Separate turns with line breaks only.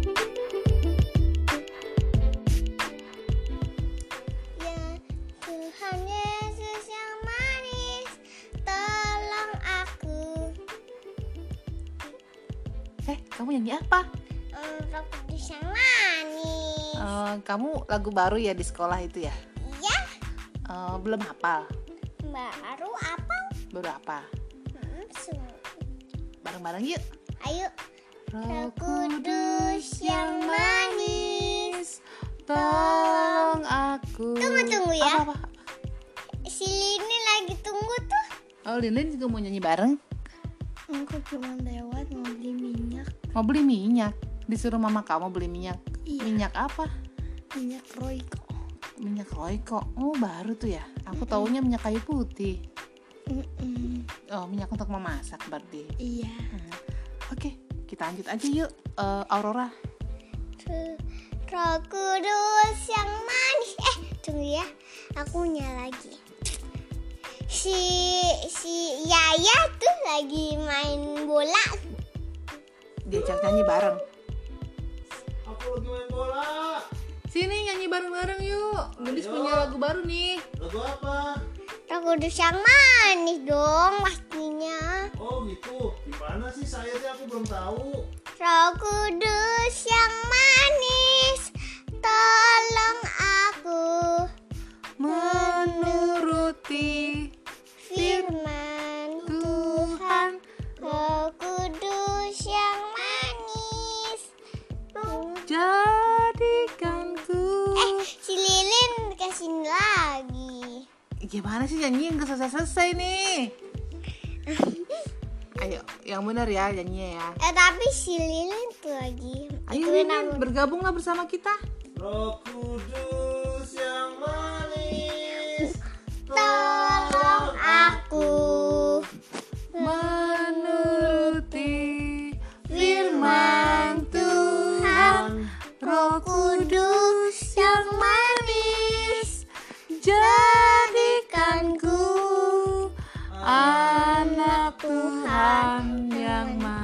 Ya,
Eh, kamu nyanyi apa?
Hmm, Rok Pisang Manis.
Oh.
Eh, kamu lagu baru ya di sekolah itu ya?
Iya,
Eh, belum hafal.
baru apa?
Baru apa?
Hmm, semua.
Bareng-bareng yuk.
Ayo,
Rok
Rok Kudus yang manis.
manis, tolong aku.
Tunggu, tunggu ya.
Apa, apa?
Si Lini lagi tunggu tuh.
Oh, Lilin juga mau nyanyi bareng.
Aku cuma lewat mau beli minyak,
Mau beli minyak. Disuruh mama kamu beli minyak.
Iya.
Minyak apa?
minyak Royco.
Minyak Royco. Oh, baru tuh ya. Aku taunya minyak kayu putih.
Mm-mm,
Oh, minyak untuk memasak berarti.
Iya.
Hmm. Oke, kita lanjut aja yuk. Eh, Aurora,
Tuh, Rok Kudus yang manis. Eh, tunggu ya. Aku punya lagi. Si si Yaya tuh lagi main bola.
diajak nyanyi bareng.
Aku lagi main bola.
Sini nyanyi bareng-bareng yuk. Gendis punya lagu baru nih.
Lagu apa?
Rok Kudus yang manis dong pastinya.
Oh gitu. Gimana sih sayurnya aku belum tahu.
Roh Kudus yang manis, tolong aku
Menuruti
firman
Tuhan.
Roh Kudus yang manis.
Jadikanku.
Eh, si Lilin kasih lagi.
Gimana sih nyanyi yang gak selesai-selesai nih? Ayo, yang bener ya nyanyinya ya.
Eh, tapi si Lilin tuh lagi.
Ayo
Itu
Lilin,
nama-
bergabunglah bersama kita.
Roh Kudus yang manis.
Tolong aku
Menuruti
firman Tuhan.
Roh
Kudus yang manis
jadikanku anak
Tuhan yang
Oh, gitu
ya.